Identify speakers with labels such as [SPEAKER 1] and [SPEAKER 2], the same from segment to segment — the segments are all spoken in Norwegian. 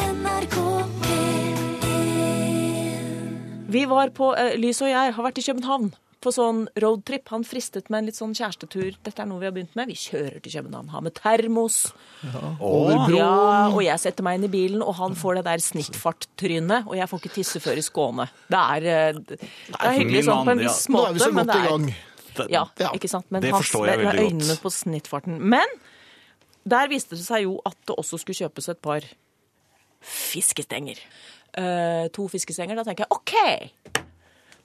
[SPEAKER 1] NRK P1
[SPEAKER 2] Vi var på, eh, Lys og jeg har vært i København på sånn roadtrip. Han fristet med en litt sånn kjærestetur. Dette er noe vi har begynt med. Vi kjører til København, har med termos.
[SPEAKER 3] Over broen.
[SPEAKER 2] Ja, og jeg setter meg inn i bilen, og han får det der snittfarttrynet, og jeg får ikke tisse før i Skåne. Det er, eh, det er hyggelig
[SPEAKER 4] min
[SPEAKER 2] sånn på en
[SPEAKER 4] mann, ja.
[SPEAKER 2] viss
[SPEAKER 3] Nå er
[SPEAKER 2] måte,
[SPEAKER 3] vi så
[SPEAKER 2] men
[SPEAKER 3] godt
[SPEAKER 2] det
[SPEAKER 3] i
[SPEAKER 2] er
[SPEAKER 3] gang.
[SPEAKER 2] ja,
[SPEAKER 3] Ja,
[SPEAKER 2] ikke sant? Men
[SPEAKER 4] det
[SPEAKER 2] han-
[SPEAKER 4] forstår jeg
[SPEAKER 2] med- Med
[SPEAKER 4] veldig godt.
[SPEAKER 2] øynene på snittfarten. Men der viste det seg jo at det også skulle kjøpes et par fiskestenger. Eh, to fiskestenger. Da tenker jeg OK,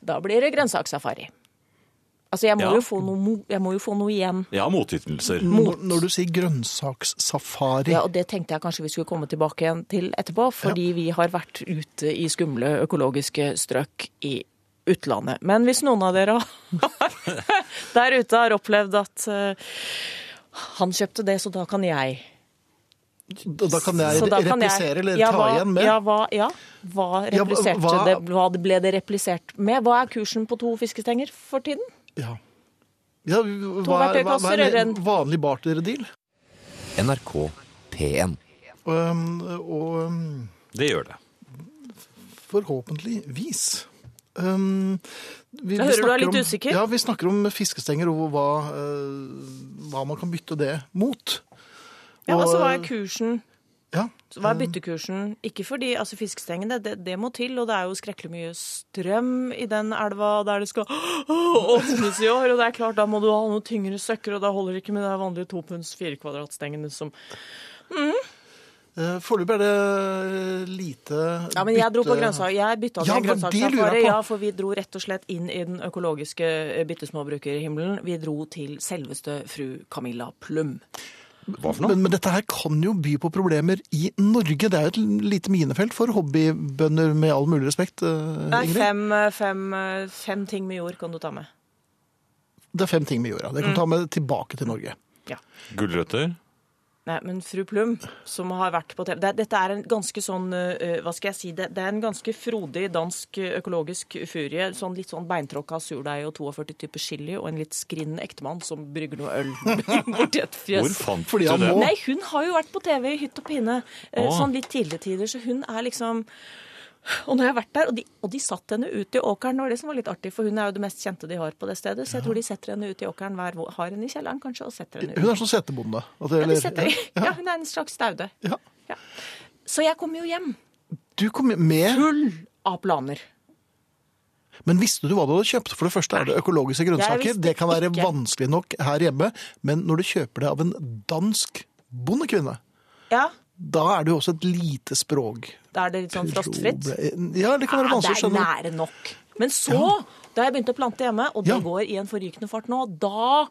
[SPEAKER 2] da blir det grønnsaksafari. Altså, jeg må,
[SPEAKER 4] Ja.
[SPEAKER 2] jo, få noe, mo- jeg må jo få noe igjen.
[SPEAKER 4] Ja, motytelser.
[SPEAKER 3] Når, når du sier grønnsakssafari
[SPEAKER 2] Ja, og det tenkte jeg kanskje vi skulle komme tilbake igjen til etterpå, fordi vi har vært ute i skumle økologiske strøk i utlandet. Men hvis noen av dere der ute har opplevd at eh, han kjøpte det, så da kan jeg
[SPEAKER 3] Da da kan jeg
[SPEAKER 2] Så da kan jeg-
[SPEAKER 3] replisere eller
[SPEAKER 2] Ja,
[SPEAKER 3] ta
[SPEAKER 2] hva-
[SPEAKER 3] igjen med.
[SPEAKER 2] Ja, hva, ja, hva
[SPEAKER 3] Ja, hva-
[SPEAKER 2] repliserte
[SPEAKER 3] hva-
[SPEAKER 2] det? Hva det ble det replisert med? Hva er kursen på to fiskestenger for tiden?
[SPEAKER 3] Ja. Ja, hva, er- hva, hva
[SPEAKER 2] verktøykasser
[SPEAKER 3] er
[SPEAKER 2] eller
[SPEAKER 3] en
[SPEAKER 2] en-
[SPEAKER 3] vanlig barterdeal?
[SPEAKER 5] NRK P1.
[SPEAKER 3] Um, og um,
[SPEAKER 4] Det gjør det.
[SPEAKER 3] forhåpentligvis um, vi,
[SPEAKER 2] Jeg hører du er
[SPEAKER 3] snakker
[SPEAKER 2] litt
[SPEAKER 3] om,
[SPEAKER 2] usikker.
[SPEAKER 3] Ja, vi snakker om fiskestenger og hva, eh, hva man kan bytte det mot.
[SPEAKER 2] Ja,
[SPEAKER 3] Og-
[SPEAKER 2] altså hva er kursen?
[SPEAKER 3] Ja,
[SPEAKER 2] Så Hva er byttekursen? Ikke fordi altså fiskestengene, det, det må til, og det er jo skrekkelig mye strøm i den elva der det skal åpnes i år, og det er klart, da må du ha noe tyngre søkker, og da holder det ikke med de vanlige to punds firekvadratstengene som
[SPEAKER 3] eh, Foreløpig er det lite
[SPEAKER 2] Ja, men jeg dro på
[SPEAKER 3] bytte-
[SPEAKER 2] grønnsak. Jeg bytta
[SPEAKER 3] Ja,
[SPEAKER 2] til en
[SPEAKER 3] men det lurer jeg
[SPEAKER 2] grønnsakssafari.
[SPEAKER 3] på.
[SPEAKER 2] Ja, for vi dro rett og slett inn i den økologiske eh, bittesmåbrukerhimmelen. Vi dro til selveste fru Camilla Plum.
[SPEAKER 4] Hva for noe?
[SPEAKER 3] Men, men dette her kan jo by på problemer i Norge. Det er jo et lite minefelt for hobbybønder, med all mulig respekt. eh,
[SPEAKER 2] Det er
[SPEAKER 3] Ingrid.
[SPEAKER 2] fem, eh, fem, eh, fem ting med jord kan du ta med.
[SPEAKER 3] Det er fem ting vi gjør. Ja. Det kan
[SPEAKER 2] Mm.
[SPEAKER 3] vi ta med tilbake til Norge.
[SPEAKER 4] Gulrøtter?
[SPEAKER 2] Nei, men fru Plum, som har vært på TV det, Dette er en ganske sånn eh, Hva skal jeg si? Det, det er en ganske frodig dansk eh, økologisk furie. Sånn litt sånn beintråkka surdeig og 42 typer chili og en litt skrinnende ektemann som brygger noe øl borti et
[SPEAKER 4] Hvor
[SPEAKER 2] fjøs.
[SPEAKER 4] fant
[SPEAKER 3] Fordi han
[SPEAKER 4] du det?
[SPEAKER 3] må-
[SPEAKER 2] Nei, hun har jo vært på TV i hytt og pine eh,
[SPEAKER 4] Å.
[SPEAKER 2] sånn litt tidligere tider, så hun er liksom og nå har jeg vært der, og de, og de satt henne ut i åkeren. Det var det som var litt artig, for hun er jo det mest kjente de har på det stedet. Så jeg tror de setter henne ut i åkeren hver vår. Har henne i kjelleren, kanskje, og setter henne ut.
[SPEAKER 3] Hun er sånn setebonde. at det-
[SPEAKER 2] Ja, de setter, ja, hun er en slags staude.
[SPEAKER 3] Ja.
[SPEAKER 2] Ja. Så jeg kom jo hjem
[SPEAKER 3] Du kom med,
[SPEAKER 2] full av planer.
[SPEAKER 3] men visste du hva du hadde kjøpt? For det første er det økologiske grønnsaker.
[SPEAKER 2] visste
[SPEAKER 3] Det kan være
[SPEAKER 2] ikke.
[SPEAKER 3] vanskelig nok her hjemme, men når du kjøper det av en dansk bondekvinne,
[SPEAKER 2] Ja,
[SPEAKER 3] da er det jo også et lite språk.
[SPEAKER 2] Da er det litt sånn frostfritt.
[SPEAKER 3] Ja, det eh, kan
[SPEAKER 2] Ja,
[SPEAKER 3] være
[SPEAKER 2] det
[SPEAKER 3] vanskelig å
[SPEAKER 2] er
[SPEAKER 3] skjønne.
[SPEAKER 2] nære nok. Men så, da jeg begynte å plante hjemme, og det
[SPEAKER 3] Ja.
[SPEAKER 2] går i en forrykende fart nå, da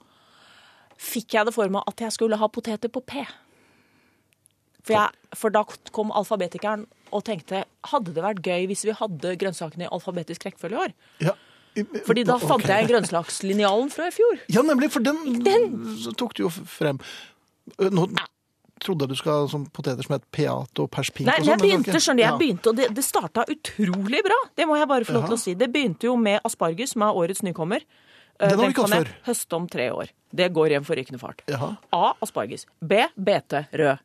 [SPEAKER 2] fikk jeg det for meg at jeg skulle ha poteter på P. For, jeg, for da kom alfabetikeren og tenkte hadde det vært gøy hvis vi hadde grønnsakene i alfabetisk rekkefølge i år?
[SPEAKER 3] Ja.
[SPEAKER 2] Fordi da fant
[SPEAKER 3] Ok.
[SPEAKER 2] jeg grønnsakslinjalen fra i fjor.
[SPEAKER 3] Ja, nemlig, for den, tok du jo frem. Ø, Nå trodde jeg du skal ha sånn poteter som het peato, perspink
[SPEAKER 2] Nei,
[SPEAKER 3] og
[SPEAKER 2] men jeg
[SPEAKER 3] sånn. men
[SPEAKER 2] begynte,
[SPEAKER 3] ok.
[SPEAKER 2] skjønner du,
[SPEAKER 3] Ja.
[SPEAKER 2] jeg begynte, og det, det starta utrolig bra. Det må jeg bare få lov til
[SPEAKER 3] Ja.
[SPEAKER 2] å si. Det begynte jo med asparges, som er årets nykommer. Eh,
[SPEAKER 3] Den har vi ikke
[SPEAKER 2] kan jeg
[SPEAKER 3] hatt før.
[SPEAKER 2] høste om tre år. Det går i en forrykende fart.
[SPEAKER 3] Jaha.
[SPEAKER 2] A. Asparges. B. Bete. Rød.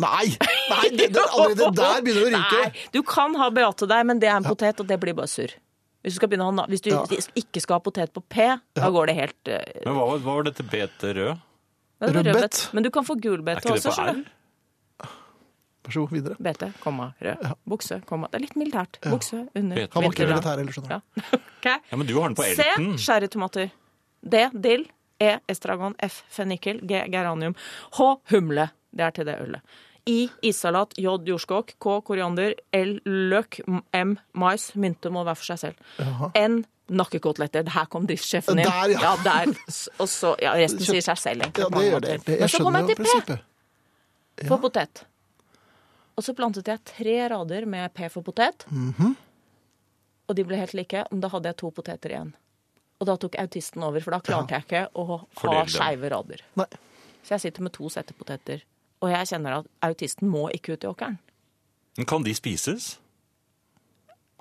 [SPEAKER 3] Nei! Nei det, det, allerede der begynner det å ryke.
[SPEAKER 2] Nei, du kan ha beate der, men det er en potet, og det blir bare surr. Hvis du, skal begynne å ha, na- hvis du
[SPEAKER 3] Ja.
[SPEAKER 2] ikke skal ha potet på P, da går det helt eh,
[SPEAKER 4] Men hva, var- hva var dette bete rød?
[SPEAKER 2] det var
[SPEAKER 3] Rødbet.
[SPEAKER 2] rødbet. Men du kan få
[SPEAKER 4] Er
[SPEAKER 2] gulbete
[SPEAKER 4] ikke det
[SPEAKER 2] også,
[SPEAKER 4] på R?
[SPEAKER 2] skjønner du.
[SPEAKER 3] Vær så god, videre.
[SPEAKER 2] Bete, komma, rød. Bukse, komma. Det er litt militært. Bukse, under.
[SPEAKER 4] Bete.
[SPEAKER 3] Han var ikke
[SPEAKER 2] vinterland.
[SPEAKER 3] militær heller, skjønner du.
[SPEAKER 2] Ja. Ok.
[SPEAKER 4] Ja, men du har den på
[SPEAKER 2] C.
[SPEAKER 4] elten.
[SPEAKER 2] Sherrytomater. D. Dill. E. Estragon. F. Fennikel. G. Geranium. H. Humle. Det er til det ølet. I. Issalat. J. Jordskokk. K. Koriander. L. Løk. M. Mais. Mynte må være for seg selv. N. Nakkekoteletter. Her kom driftssjefen inn.
[SPEAKER 3] Der, ja.
[SPEAKER 2] der. S- Og så, ja, resten sier seg selv. egentlig,
[SPEAKER 3] Ja,
[SPEAKER 2] på
[SPEAKER 3] det
[SPEAKER 2] mange
[SPEAKER 3] gjør det.
[SPEAKER 2] måter.
[SPEAKER 3] egentlig.
[SPEAKER 2] Men
[SPEAKER 3] Jeg
[SPEAKER 2] så kom
[SPEAKER 3] skjønner
[SPEAKER 2] jeg
[SPEAKER 3] jo
[SPEAKER 2] til P
[SPEAKER 3] prinsippet.
[SPEAKER 2] for potet. Og så plantet jeg tre rader med P for potet.
[SPEAKER 3] Mhm.
[SPEAKER 2] Og de ble helt like, men da hadde jeg to poteter igjen. Og da tok autisten over, for da klarte jeg ikke å ha
[SPEAKER 4] Fordele dem.
[SPEAKER 2] skeive rader.
[SPEAKER 3] Nei.
[SPEAKER 2] Så jeg sitter med to settepoteter, og jeg kjenner at autisten må ikke ut i åkeren.
[SPEAKER 4] Men Kan de spises?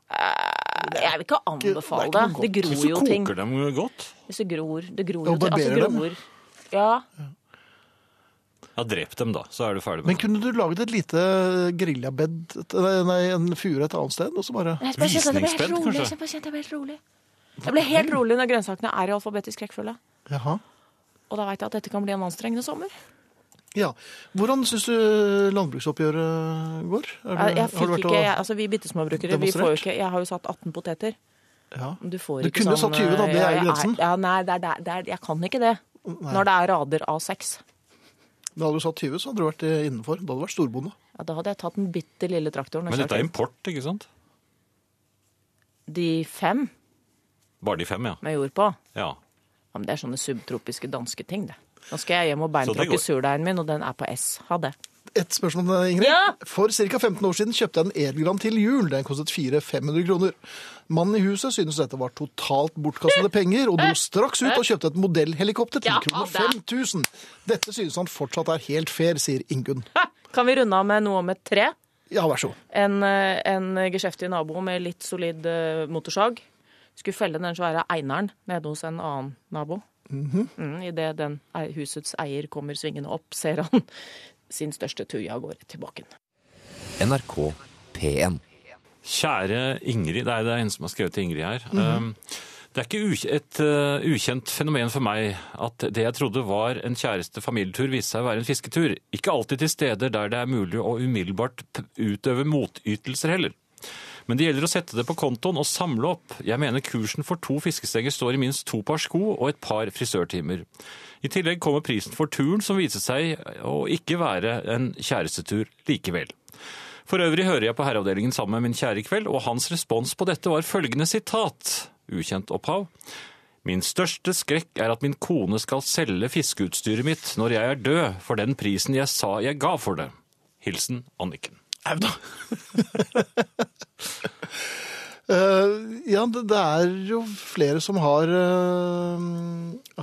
[SPEAKER 2] Jeg vil ikke
[SPEAKER 3] det er
[SPEAKER 2] anbefale
[SPEAKER 3] ikke
[SPEAKER 2] det.
[SPEAKER 3] noe
[SPEAKER 2] Det
[SPEAKER 3] godt.
[SPEAKER 2] gror
[SPEAKER 4] Så
[SPEAKER 2] jo ting.
[SPEAKER 4] koker dem godt.
[SPEAKER 2] Hvis det gror, det gror
[SPEAKER 3] Og
[SPEAKER 2] jo ting. Altså
[SPEAKER 3] barberer dem.
[SPEAKER 2] gror. Ja.
[SPEAKER 4] Ja, drep dem, da. Så er du ferdig
[SPEAKER 3] Men
[SPEAKER 4] med det.
[SPEAKER 3] kunne du laget et lite geriljabed, et- nei, nei, en fure et annet sted, og så bare
[SPEAKER 2] Jeg bare kjente at jeg ble helt
[SPEAKER 4] Visningsspenn,
[SPEAKER 2] rolig.
[SPEAKER 4] kanskje?
[SPEAKER 2] Jeg bare kjente at jeg ble helt rolig. Jeg ble helt rolig når grønnsakene er i alfabetisk rekkefølge.
[SPEAKER 3] Jaha.
[SPEAKER 2] Og da veit jeg at dette kan bli en anstrengende sommer.
[SPEAKER 3] Ja. Hvordan syns du landbruksoppgjøret går? Er du-
[SPEAKER 2] Jeg, jeg
[SPEAKER 3] har du
[SPEAKER 2] fikk
[SPEAKER 3] vært og-
[SPEAKER 2] ikke, jeg, altså Vi bittesmåbrukere, vi får jo
[SPEAKER 3] demonstrert?
[SPEAKER 2] ikke Jeg har jo satt 18 poteter.
[SPEAKER 3] ja.
[SPEAKER 2] Du får
[SPEAKER 3] Du
[SPEAKER 2] ikke
[SPEAKER 3] kunne
[SPEAKER 2] sånn,
[SPEAKER 3] satt 20 da, det
[SPEAKER 2] eh,
[SPEAKER 3] er
[SPEAKER 2] jeg
[SPEAKER 3] grensen.
[SPEAKER 2] Ja, nei, det er, det er, det er, jeg kan ikke det. Når det er rader av seks.
[SPEAKER 3] Men hadde du satt 20, så hadde du vært eh, innenfor. Da hadde du vært storbonde.
[SPEAKER 2] Ja, da hadde jeg tatt den bitte lille traktoren. og
[SPEAKER 4] Men dette
[SPEAKER 2] kjørt
[SPEAKER 4] er import, ikke sant?
[SPEAKER 2] De fem
[SPEAKER 4] Bare de fem, ja.
[SPEAKER 2] med jord på.
[SPEAKER 4] ja.
[SPEAKER 2] Ja, men det er sånne subtropiske danske ting, det. Nå skal jeg hjem og
[SPEAKER 4] Så det
[SPEAKER 2] beintråkke
[SPEAKER 4] går.
[SPEAKER 2] surdeigen min, og den er på S. Ha det.
[SPEAKER 3] Et spørsmål, eh, Ingrid.
[SPEAKER 2] Ja!
[SPEAKER 3] For ca. 15 år siden kjøpte jeg en Edelgran til jul. Den kostet 400-500 kroner. Mannen i huset syntes dette var totalt bortkastede penger, og dro straks ut og kjøpte et modellhelikopter til
[SPEAKER 2] Ja,
[SPEAKER 3] kroner
[SPEAKER 2] det er-
[SPEAKER 3] 5000. Dette synes han fortsatt er helt fair, sier Ingunn.
[SPEAKER 2] Kan vi runde av med noe om et tre?
[SPEAKER 3] Ja, vær så god.
[SPEAKER 2] En, eh, en geskjeftig nabo med litt solid eh, motorsag skulle felle den svære eineren nede hos en annen nabo. mm, Idet den ei- husets eier kommer svingende opp, ser han sin største tuja går til bakken.
[SPEAKER 5] NRK P1.
[SPEAKER 4] Kjære Ingrid, nei, det er en som har skrevet til Ingrid her. Um, Det er ikke uk- et uh, ukjent fenomen for meg at det jeg trodde var en kjæreste familietur, viste seg å være en fisketur. Ikke alltid til steder der det er mulig å umiddelbart p- utøve motytelser heller. Men det gjelder å sette det på kontoen og samle opp. Jeg mener kursen for to fiskestenger står i minst to par sko og et par frisørtimer. I tillegg kommer prisen for turen, som viste seg å ikke være en kjærestetur likevel. For øvrig hører jeg på Herreavdelingen sammen med min kjære i kveld, og hans respons på dette var følgende sitat, ukjent opphav. Min største skrekk er at min kone skal selge fiskeutstyret mitt når jeg er død, for den prisen jeg sa jeg ga for det. Hilsen Anniken.
[SPEAKER 3] Au da. Eh, ja, det, det er jo flere som har, eh,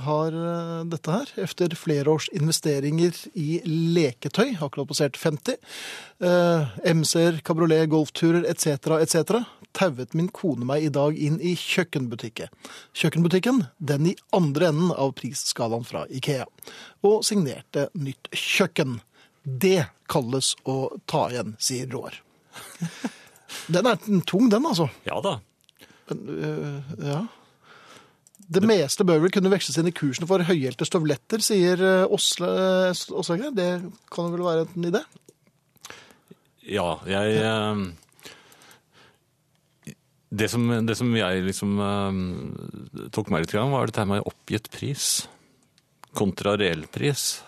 [SPEAKER 3] har eh, dette her. Efter flere års investeringer i leketøy, akkurat passert 50. Uh, MC-er, kabriolet, golfturer etc. etc. tauet min kone meg i dag inn i kjøkkenbutikket. Kjøkkenbutikken, den i andre enden av prisskalaen fra Ikea. Og signerte nytt kjøkken. Det kalles å ta igjen, sier Roar. Den er tung, den, altså.
[SPEAKER 4] Ja da.
[SPEAKER 3] Ja. Det meste bør vel kunne veksles inn i kursene for høyhælte støvletter, sier eh, Åsle eh, Åsleger. Det kan vel være en idé?
[SPEAKER 4] Ja, jeg eh, det som, det som jeg liksom eh, tok meg litt, grann, var dette her med oppgitt pris kontra reell pris.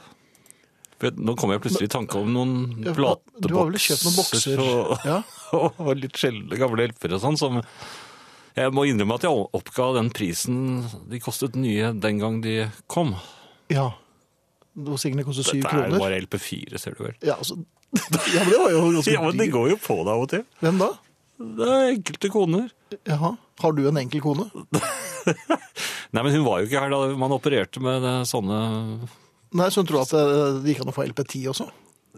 [SPEAKER 4] For Nå kom jeg plutselig i tanke om noen
[SPEAKER 3] Ja,
[SPEAKER 4] platebokser
[SPEAKER 3] Du har vel kjøpt noen bokser?
[SPEAKER 4] og,
[SPEAKER 3] Ja.
[SPEAKER 4] og litt sjeldne gamle LP-er og sånn. Som jeg må innrømme at jeg oppga den prisen de kostet nye den gang de kom.
[SPEAKER 3] ja. Hos Signe koster syv
[SPEAKER 4] Dette er
[SPEAKER 3] kroner.
[SPEAKER 4] bare LP4, ser du vel.
[SPEAKER 3] Ja, altså, ja, men det var jo
[SPEAKER 4] Ja, men
[SPEAKER 3] ganske
[SPEAKER 4] det
[SPEAKER 3] dyrt.
[SPEAKER 4] går jo på deg av og til.
[SPEAKER 3] Hvem da?
[SPEAKER 4] Det er enkelte koner.
[SPEAKER 3] Jaha. Har du en enkel kone?
[SPEAKER 4] Nei, men hun var jo ikke her da man opererte med eh, sånne
[SPEAKER 3] Nei, så hun tror at eh, det gikk an å få LP10 også?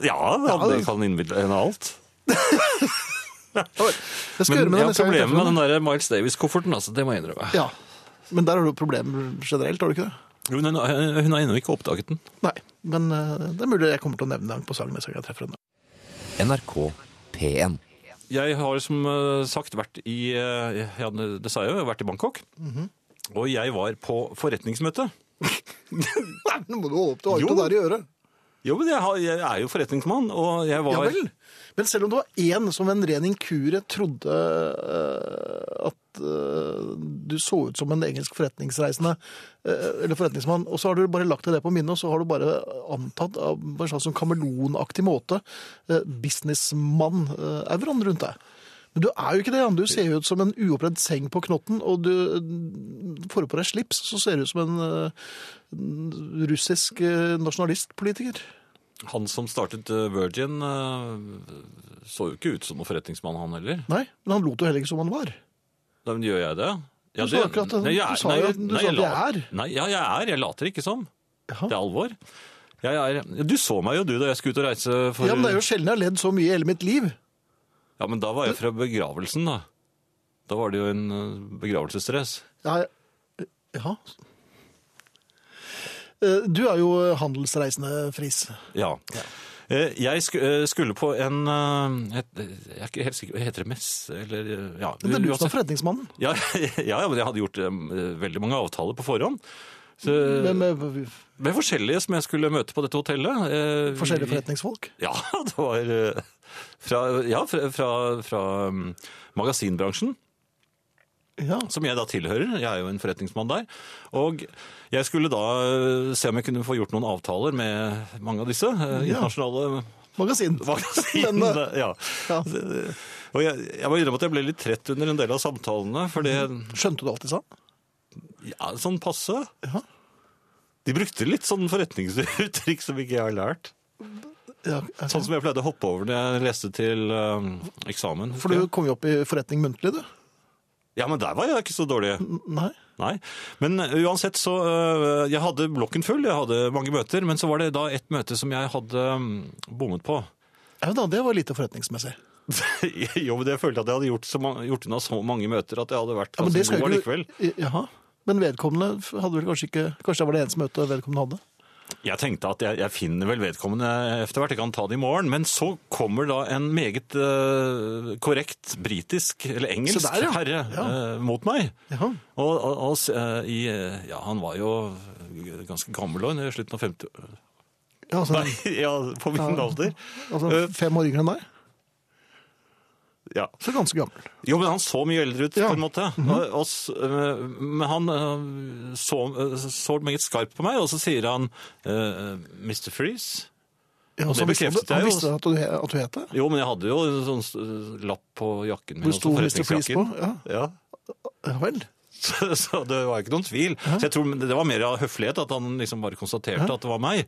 [SPEAKER 4] Ja,
[SPEAKER 3] Ja,
[SPEAKER 4] det
[SPEAKER 3] det-
[SPEAKER 4] kan innbille henne alt.
[SPEAKER 3] Jeg
[SPEAKER 4] Men
[SPEAKER 3] skal
[SPEAKER 4] jeg har
[SPEAKER 3] gjøre med det neste gang jeg
[SPEAKER 4] problemer
[SPEAKER 3] treffer
[SPEAKER 4] med
[SPEAKER 3] henne.
[SPEAKER 4] den der Miles Davis-kofferten, altså. Det må jeg innrømme.
[SPEAKER 3] Ja. Men der har du problemer generelt, har du ikke det?
[SPEAKER 4] Hun, hun har ennå ikke oppdaget den.
[SPEAKER 3] Nei, men eh, det er mulig jeg kommer til å nevne den på sangen neste gang jeg treffer henne.
[SPEAKER 5] NRK P1.
[SPEAKER 4] Jeg har som eh, sagt vært i eh, Ja, det sa jeg jo, jeg har vært i Bangkok.
[SPEAKER 3] Mhm.
[SPEAKER 4] Og jeg var på forretningsmøte.
[SPEAKER 3] Nei, nå må du holde opp, du har
[SPEAKER 4] Jo.
[SPEAKER 3] ikke noe der i øret.
[SPEAKER 4] Jo, men jeg, har, jeg er jo forretningsmann, og jeg var
[SPEAKER 3] Ja vel. Men selv om det var én som ved en ren inkurie trodde eh, at eh, du så ut som en engelsk forretningsreisende eh, eller forretningsmann, og så har du bare lagt deg det på minnet, og så har du bare antatt av på en slags sånn kameleonaktig måte eh, businessmann-euroen rundt deg. Men du er jo ikke det. Jan. Du ser jo ut som en uoppredd seng på knotten, og du eh, får du på deg slips, så ser du ut som en eh, russisk eh, nasjonalistpolitiker.
[SPEAKER 4] Han som startet eh, Virgin, eh, så jo ikke ut som noen forretningsmann, han heller.
[SPEAKER 3] Nei, men han lot jo heller ikke som han var.
[SPEAKER 4] Da men gjør jeg det. Ja,
[SPEAKER 3] Du sa akkurat det.
[SPEAKER 4] nei, jeg
[SPEAKER 3] Du
[SPEAKER 4] er-
[SPEAKER 3] sa jo-
[SPEAKER 4] nei,
[SPEAKER 3] du
[SPEAKER 4] nei,
[SPEAKER 3] sa at jeg
[SPEAKER 4] later-
[SPEAKER 3] er.
[SPEAKER 4] Nei, ja, jeg er. Jeg later ikke som. Det er
[SPEAKER 3] Jaha.
[SPEAKER 4] alvor. Jeg er, ja, du så meg jo, du, da jeg skulle ut og reise for
[SPEAKER 3] Ja, men det er jo sjelden jeg har ledd så mye i hele mitt liv.
[SPEAKER 4] Ja, men da var jeg fra begravelsen, da. Da var det jo en eh, begravelsesdress.
[SPEAKER 3] Ja, ja. Eh, Du er jo handelsreisende, Friis.
[SPEAKER 4] Ja. Eh, Jeg sku- eh, skulle på en eh, et- Jeg er ikke helt sikker Heter det mess? Eller eh, ja.
[SPEAKER 3] Men det er du som
[SPEAKER 4] uansett.
[SPEAKER 3] er forretningsmannen.
[SPEAKER 4] Ja, ja, ja, men jeg hadde gjort eh, veldig mange avtaler på forhånd. Så,
[SPEAKER 3] Hvem er
[SPEAKER 4] med forskjellige som jeg skulle møte på dette hotellet. eh,
[SPEAKER 3] forskjellige
[SPEAKER 4] vi-
[SPEAKER 3] forretningsfolk?
[SPEAKER 4] Ja, det var eh, fra, ja, fra, fra, fra mm, magasinbransjen,
[SPEAKER 3] Ja.
[SPEAKER 4] som jeg da tilhører. Jeg er jo en forretningsmann der. Og jeg skulle da eh, se om jeg kunne få gjort noen avtaler med mange av disse eh,
[SPEAKER 3] Ja.
[SPEAKER 4] internasjonale
[SPEAKER 3] Magasin. eh,
[SPEAKER 4] magasinene. Ja.
[SPEAKER 3] Ja.
[SPEAKER 4] Og jeg, jeg må innrømme at jeg ble litt trett under en del av samtalene, for det
[SPEAKER 3] Skjønte du alt de sa?
[SPEAKER 4] ja, sånn passe.
[SPEAKER 3] Ja.
[SPEAKER 4] De brukte litt sånn forretningsuttrykk som ikke jeg har lært.
[SPEAKER 3] Ja,
[SPEAKER 4] Sånn som jeg pleide å hoppe over når jeg leste til eh, eksamen.
[SPEAKER 3] For du kom jo opp i forretning muntlig, du.
[SPEAKER 4] Ja, men der var jeg ikke så dårlig.
[SPEAKER 3] N- Nei.
[SPEAKER 4] Nei. Men eh, uansett så øh, Jeg hadde blokken full, jeg hadde mange møter, men så var det da et møte som jeg hadde mm, bommet på.
[SPEAKER 3] Ja, da, det var lite forretningsmessig.
[SPEAKER 4] jo, men jeg følte at jeg hadde gjort, så ma- gjort unna så mange møter at jeg hadde vært
[SPEAKER 3] Ja, men
[SPEAKER 4] ganske
[SPEAKER 3] det skal
[SPEAKER 4] god
[SPEAKER 3] jo ikke
[SPEAKER 4] allikevel.
[SPEAKER 3] du- Jaha. Men vedkommende f- hadde vel kanskje ikke Kanskje det var det eneste møtet vedkommende hadde?
[SPEAKER 4] Jeg tenkte at jeg, jeg finner vel vedkommende etter hvert, jeg kan ta det i morgen. Men så kommer da en meget øh, korrekt britisk, eller engelsk,
[SPEAKER 3] Se der, ja.
[SPEAKER 4] herre
[SPEAKER 3] Ja.
[SPEAKER 4] øh, mot meg.
[SPEAKER 3] Jaha.
[SPEAKER 4] Og, og, og s- øh, i, øh, ja, han var jo ganske gammel, og i slutten av 50
[SPEAKER 3] Ja, altså,
[SPEAKER 4] Nei, ja, på min alder. Eh,
[SPEAKER 3] altså fem år yngre enn deg?
[SPEAKER 4] Ja.
[SPEAKER 3] Så ganske gammel.
[SPEAKER 4] Jo, men han så mye eldre ut,
[SPEAKER 3] Ja. Mhm.
[SPEAKER 4] på en måte. Og- og s- øh, men han øh, så, øh, så meget skarpt på meg, og så sier han øh, Mr. Freeze.
[SPEAKER 3] Ja,
[SPEAKER 4] Og det
[SPEAKER 3] så han visste-
[SPEAKER 4] bekreftet jeg
[SPEAKER 3] Han
[SPEAKER 4] jo.
[SPEAKER 3] visste at du, he- at du het det?
[SPEAKER 4] Jo, men jeg hadde jo en sånn øh, lapp på jakken min.
[SPEAKER 3] Hvor
[SPEAKER 4] også,
[SPEAKER 3] sto Mr. Freeze på?
[SPEAKER 4] forretningsjakken.
[SPEAKER 3] Ja,
[SPEAKER 4] Ja.
[SPEAKER 3] ja vel.
[SPEAKER 4] Så, så det var ikke noen tvil. Så jeg tror Det var mer av høflighet at han liksom bare konstaterte at det var meg.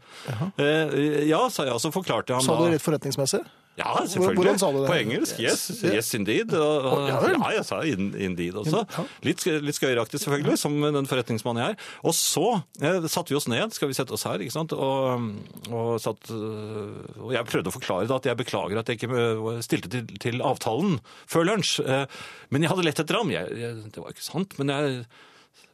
[SPEAKER 4] Eh, ja, sa jeg, og så forklarte han
[SPEAKER 3] Sa du
[SPEAKER 4] da
[SPEAKER 3] det rett forretningsmessig?
[SPEAKER 4] Ja, selvfølgelig.
[SPEAKER 3] Hvordan sa du det?
[SPEAKER 4] På engelsk. Yes, yes, indeed. Og, og,
[SPEAKER 3] Ja
[SPEAKER 4] ja,
[SPEAKER 3] vel.
[SPEAKER 4] jeg sa in, indeed også.
[SPEAKER 3] Ja.
[SPEAKER 4] Litt, litt skøyeraktig, selvfølgelig, som den forretningsmannen jeg er. Og så eh, satte vi oss ned, skal vi sette oss her, ikke sant? Og, og, satt, øh, og jeg prøvde å forklare da, at jeg beklager at jeg ikke øh, stilte til, til avtalen før lunsj. Eh, Men jeg hadde lett etter ham. Jeg, jeg, det var ikke sant, men jeg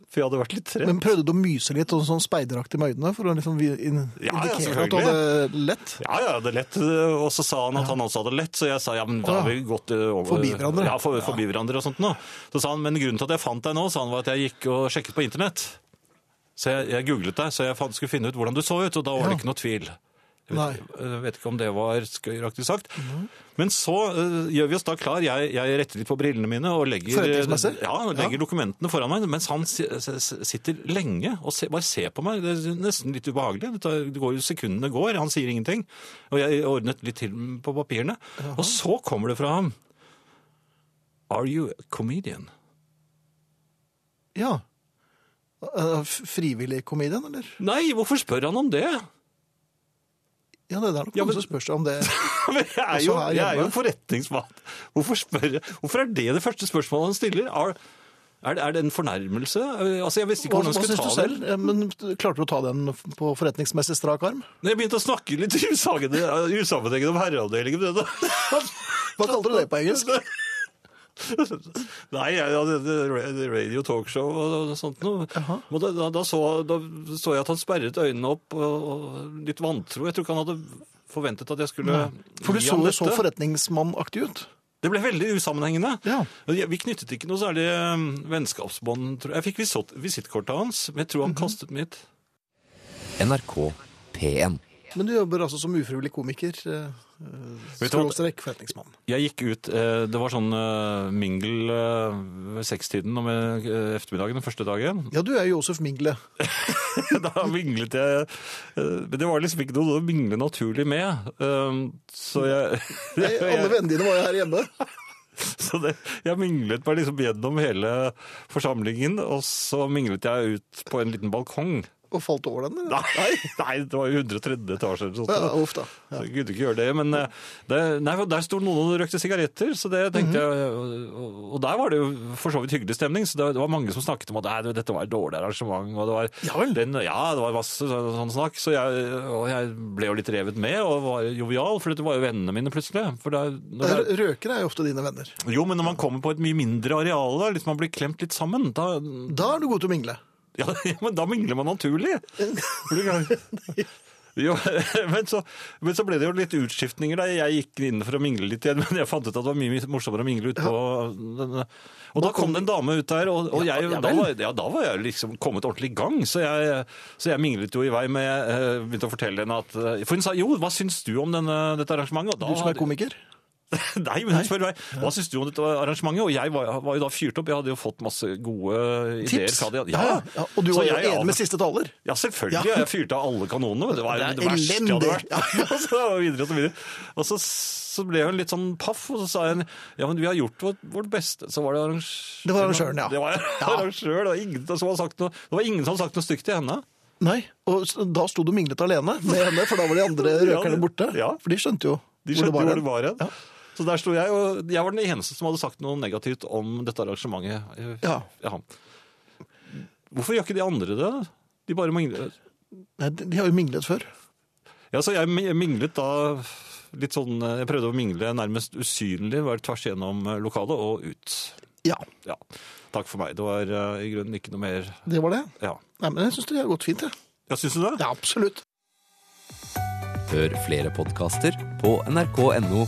[SPEAKER 4] For jeg hadde vært litt redd.
[SPEAKER 3] Men prøvde du å myse litt sånn, sånn speideraktig med øynene for å liksom vi- in-
[SPEAKER 4] Ja, ja,
[SPEAKER 3] indikere at du hadde lett?
[SPEAKER 4] Ja, ja, det er lett. Og så sa han at han også hadde lett, så jeg sa ja, men da har vi gått eh, over
[SPEAKER 3] Forbi hverandre.
[SPEAKER 4] Ja, for, forbi hverandre og sånt nå. Så sa han, men grunnen til at jeg fant deg nå, sa han, var at jeg gikk og sjekket på internett. Så jeg, jeg googlet deg, så jeg fant, skulle finne ut hvordan du så ut, og da var
[SPEAKER 3] Ja.
[SPEAKER 4] det ikke noe tvil. Jeg
[SPEAKER 3] Nei. Mhm.
[SPEAKER 4] vet, jeg vet ikke om det var skøyeraktig sagt. Men så eh, gjør vi oss da klar. Jeg, jeg retter litt på brillene mine og legger,
[SPEAKER 3] Forretningsmessig?
[SPEAKER 4] ja, og legger dokumentene foran meg, mens han si- s- s- sitter lenge og se, bare ser på meg. Det er nesten litt ubehagelig. Det, tar, det går jo sekundene går, han sier ingenting. Og jeg ordnet litt til på papirene. Og så kommer det fra ham. Are you a comedian?
[SPEAKER 3] Ja. Eh, f- Frivillig komedien, eller?
[SPEAKER 4] Nei, hvorfor spør han om det?
[SPEAKER 3] Ja, det er nok
[SPEAKER 4] Ja,
[SPEAKER 3] noen
[SPEAKER 4] men-
[SPEAKER 3] som spør seg om det.
[SPEAKER 4] Men jeg er
[SPEAKER 3] Også
[SPEAKER 4] jo,
[SPEAKER 3] her
[SPEAKER 4] jeg er jo
[SPEAKER 3] hjemme.
[SPEAKER 4] forretningsmann. Hvorfor, spør, hvorfor er det det første spørsmålet han stiller? Er, er, det, er det en fornærmelse? Altså, Jeg visste ikke
[SPEAKER 3] Hva,
[SPEAKER 4] hvordan
[SPEAKER 3] hva
[SPEAKER 4] jeg skulle
[SPEAKER 3] syns du
[SPEAKER 4] ta det.
[SPEAKER 3] selv? Ja, men klarte du å ta den på forretningsmessig strak arm?
[SPEAKER 4] Når jeg begynte å snakke litt usagende- usammenhengende om herreavdelingen men det-
[SPEAKER 3] Hva kalte du det på engelsk?
[SPEAKER 4] Nei, jeg hadde det- det radio talkshow og sånt noe.
[SPEAKER 3] Jaha.
[SPEAKER 4] Og Da, da, da, så, da så jeg at han sperret øynene opp, og, og litt vantro. Jeg tror ikke han hadde forventet at jeg skulle
[SPEAKER 3] For du
[SPEAKER 4] gi
[SPEAKER 3] så
[SPEAKER 4] ham
[SPEAKER 3] jo så
[SPEAKER 4] dette.
[SPEAKER 3] forretningsmannaktig ut.
[SPEAKER 4] Det ble veldig usammenhengende.
[SPEAKER 3] Ja.
[SPEAKER 4] Og jeg- Vi knyttet ikke noe særlig eh, vennskapsbånd. tror Jeg Jeg fikk visott- visittkortet hans, men jeg tror han
[SPEAKER 3] Mhm.
[SPEAKER 4] kastet mitt.
[SPEAKER 5] NRK P1.
[SPEAKER 3] Men du jobber altså som ufrivillig komiker. eh,
[SPEAKER 4] Vet du hva?
[SPEAKER 3] Skråstrek forretningsmann.
[SPEAKER 4] Jeg gikk ut, eh, det var sånn eh, mingel eh, ved sekstiden om eh, ettermiddagen den første dagen.
[SPEAKER 3] Ja, du er jo Josef Mingle.
[SPEAKER 4] Da minglet jeg, eh, men det var liksom ikke noe å mingle naturlig med. eh, Så jeg,
[SPEAKER 3] Nei, Alle
[SPEAKER 4] jeg,
[SPEAKER 3] vennene dine var jo her hjemme.
[SPEAKER 4] så det, jeg minglet meg liksom gjennom hele forsamlingen, og så minglet jeg ut på en liten balkong.
[SPEAKER 3] Og falt over den? eller?
[SPEAKER 4] Nei, nei det var jo 130 etasjer eller sånt.
[SPEAKER 3] Ja, uff da.
[SPEAKER 4] Så jeg gidde ikke gjøre det, men eh, det, nei, for der sto noen og røkte sigaretter, så det tenkte
[SPEAKER 3] Mhm.
[SPEAKER 4] jeg, og- og der var det jo for så vidt hyggelig stemning, så det, det var mange som snakket om at nei, dette var et dårlig arrangement, og det var,
[SPEAKER 3] Ja vel.
[SPEAKER 4] den, ja, det var masse sånn, sånn snakk, så jeg, og jeg ble jo litt revet med, og var jovial, for dette var jo vennene mine plutselig. For da- når jeg-
[SPEAKER 3] Rø- Eh, Røkere er jo ofte dine venner.
[SPEAKER 4] jo, men når man kommer på et mye mindre areal, da, liksom man blir klemt litt sammen, da,
[SPEAKER 3] Da er du god til å mingle.
[SPEAKER 4] Ja, men da mingler man naturlig. Jo, men, så, men så ble det jo litt utskiftninger. da. Jeg gikk inn for å mingle litt igjen, men jeg fant ut at det var mye mye morsommere å mingle utpå. Og da kom det en dame ut der, og, og jeg, da, var, ja, da var jeg liksom kommet ordentlig i gang. Så jeg, så jeg minglet jo i vei med eh, Begynte å fortelle henne at eh, For hun sa jo, hva syns du om denne, dette arrangementet? Og da
[SPEAKER 3] Du som
[SPEAKER 4] hadde-
[SPEAKER 3] er komiker?
[SPEAKER 4] Nei, men hun spør meg hva syns du om dette arrangementet? Og jeg var, var jo da fyrt opp. Jeg hadde jo fått masse gode ideer.
[SPEAKER 3] Tips?
[SPEAKER 4] fra de-
[SPEAKER 3] Ja, ja, og du
[SPEAKER 4] Så
[SPEAKER 3] var jo
[SPEAKER 4] jeg
[SPEAKER 3] enig
[SPEAKER 4] av-
[SPEAKER 3] med siste taler?
[SPEAKER 4] Ja, selvfølgelig.
[SPEAKER 3] Ja.
[SPEAKER 4] Jeg fyrte av alle kanonene. men Det var
[SPEAKER 3] Det
[SPEAKER 4] det,
[SPEAKER 3] er
[SPEAKER 4] verste jeg hadde
[SPEAKER 3] elendig.
[SPEAKER 4] vært. og så videre og så videre. Og så, så ble hun litt sånn paff, og så sa hun ja, men vi har gjort vårt, vårt beste. Så var det arrangøren.
[SPEAKER 3] Det var arrangøren, ja.
[SPEAKER 4] Det var arrangør, det var ingen som hadde sagt noe, det var ingen som hadde sagt noe stygt til henne.
[SPEAKER 3] Nei. Og s- da sto du minglet alene med henne, for da var de andre røkerne borte.
[SPEAKER 4] Ja.
[SPEAKER 3] For de skjønte jo
[SPEAKER 4] De skjønte hvor det
[SPEAKER 3] hen.
[SPEAKER 4] var hen. Så der sto jeg, og jeg var den eneste som hadde sagt noe negativt om dette arrangementet. eh,
[SPEAKER 3] Ja.
[SPEAKER 4] Hvorfor gjør ikke de andre det? De bare mingler.
[SPEAKER 3] Nei, de de har jo minglet før.
[SPEAKER 4] Ja, så jeg mi- minglet da litt sånn eh, Jeg prøvde å mingle nærmest usynlig, være tvers gjennom eh, lokalet og ut.
[SPEAKER 3] Ja,
[SPEAKER 4] Ja. Takk for meg. Det var eh, i grunnen ikke noe mer
[SPEAKER 3] det var det.
[SPEAKER 4] Ja.
[SPEAKER 3] Nei, men jeg syns det har gått fint, jeg.
[SPEAKER 4] Ja, syns du det?
[SPEAKER 3] Ja, absolutt.
[SPEAKER 5] Hør flere podkaster på nrk.no